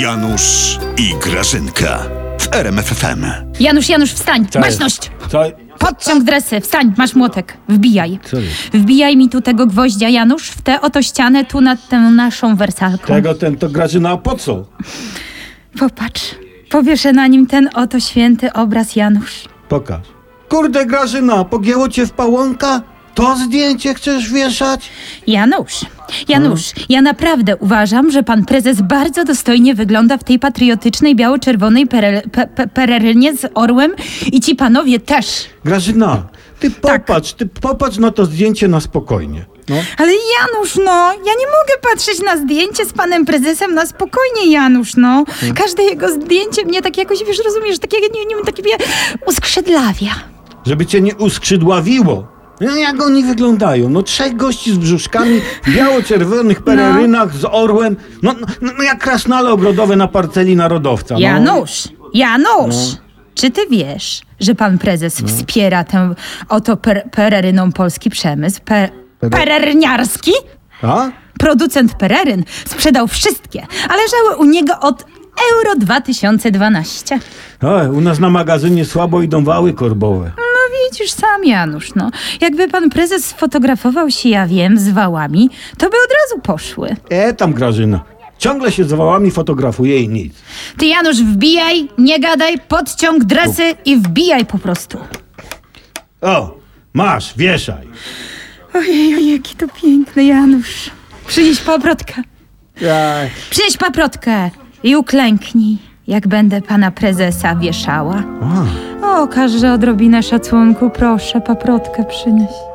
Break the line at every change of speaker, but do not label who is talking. Janusz i Grażynka w RMFFM.
Janusz, Janusz, wstań!
Co jest?
Baczność!
Co?
Podciąg dresy, wstań, masz młotek. Wbijaj. Wbijaj mi tu tego gwoździa, Janusz, w tę oto ścianę, tu nad tę naszą wersalką.
Tego ten to Grażyna po co?
Popatrz, powieszę na nim ten oto święty obraz, Janusz.
Pokaż.
Kurde Grażyna, pogięło cię w pałąka? To zdjęcie chcesz wieszać?
Janusz, Janusz, ja naprawdę uważam, że pan prezes bardzo dostojnie wygląda w tej patriotycznej, biało-czerwonej perel, pe, pe, perelnie z orłem i ci panowie też.
Grażyna, ty
Tak.
popatrz, ty popatrz na to zdjęcie na spokojnie. No.
Ale Janusz, no, ja nie mogę patrzeć na zdjęcie z panem prezesem na spokojnie, Janusz, no. Każde jego zdjęcie mnie tak jakoś, wiesz, rozumiesz, takie, nie, nie, takie mnie uskrzydlawia.
Żeby cię nie uskrzydławiło. No, jak oni wyglądają? No trzech gości z brzuszkami, w biało-czerwonych
No.
pelerynach z orłem. No, no, no jak krasnale ogrodowe na parceli narodowca. No.
Janusz, Janusz, czy ty wiesz, że pan prezes wspiera tę oto per, pereryną polski przemysł, per, pererniarski?
A?
Producent pereryn sprzedał wszystkie, ale leżały u niego od euro 2012.
Oj, u nas na magazynie słabo idą wały korbowe.
No widzisz sam, Janusz, no. Jakby pan prezes sfotografował się, ja wiem, z wałami, to by od razu poszły.
E, tam Grażyna. Ciągle się z wałami fotografuje i nic.
Ty, Janusz, wbijaj, nie gadaj, podciąg dresy i wbijaj po prostu.
O, masz, wieszaj.
Ojej, ojej, jaki to piękny Janusz. Przynieś paprotkę.
Jaj.
Przynieś paprotkę i uklęknij, jak będę pana prezesa wieszała. O, każe odrobinę szacunku, proszę, paprotkę przynieść.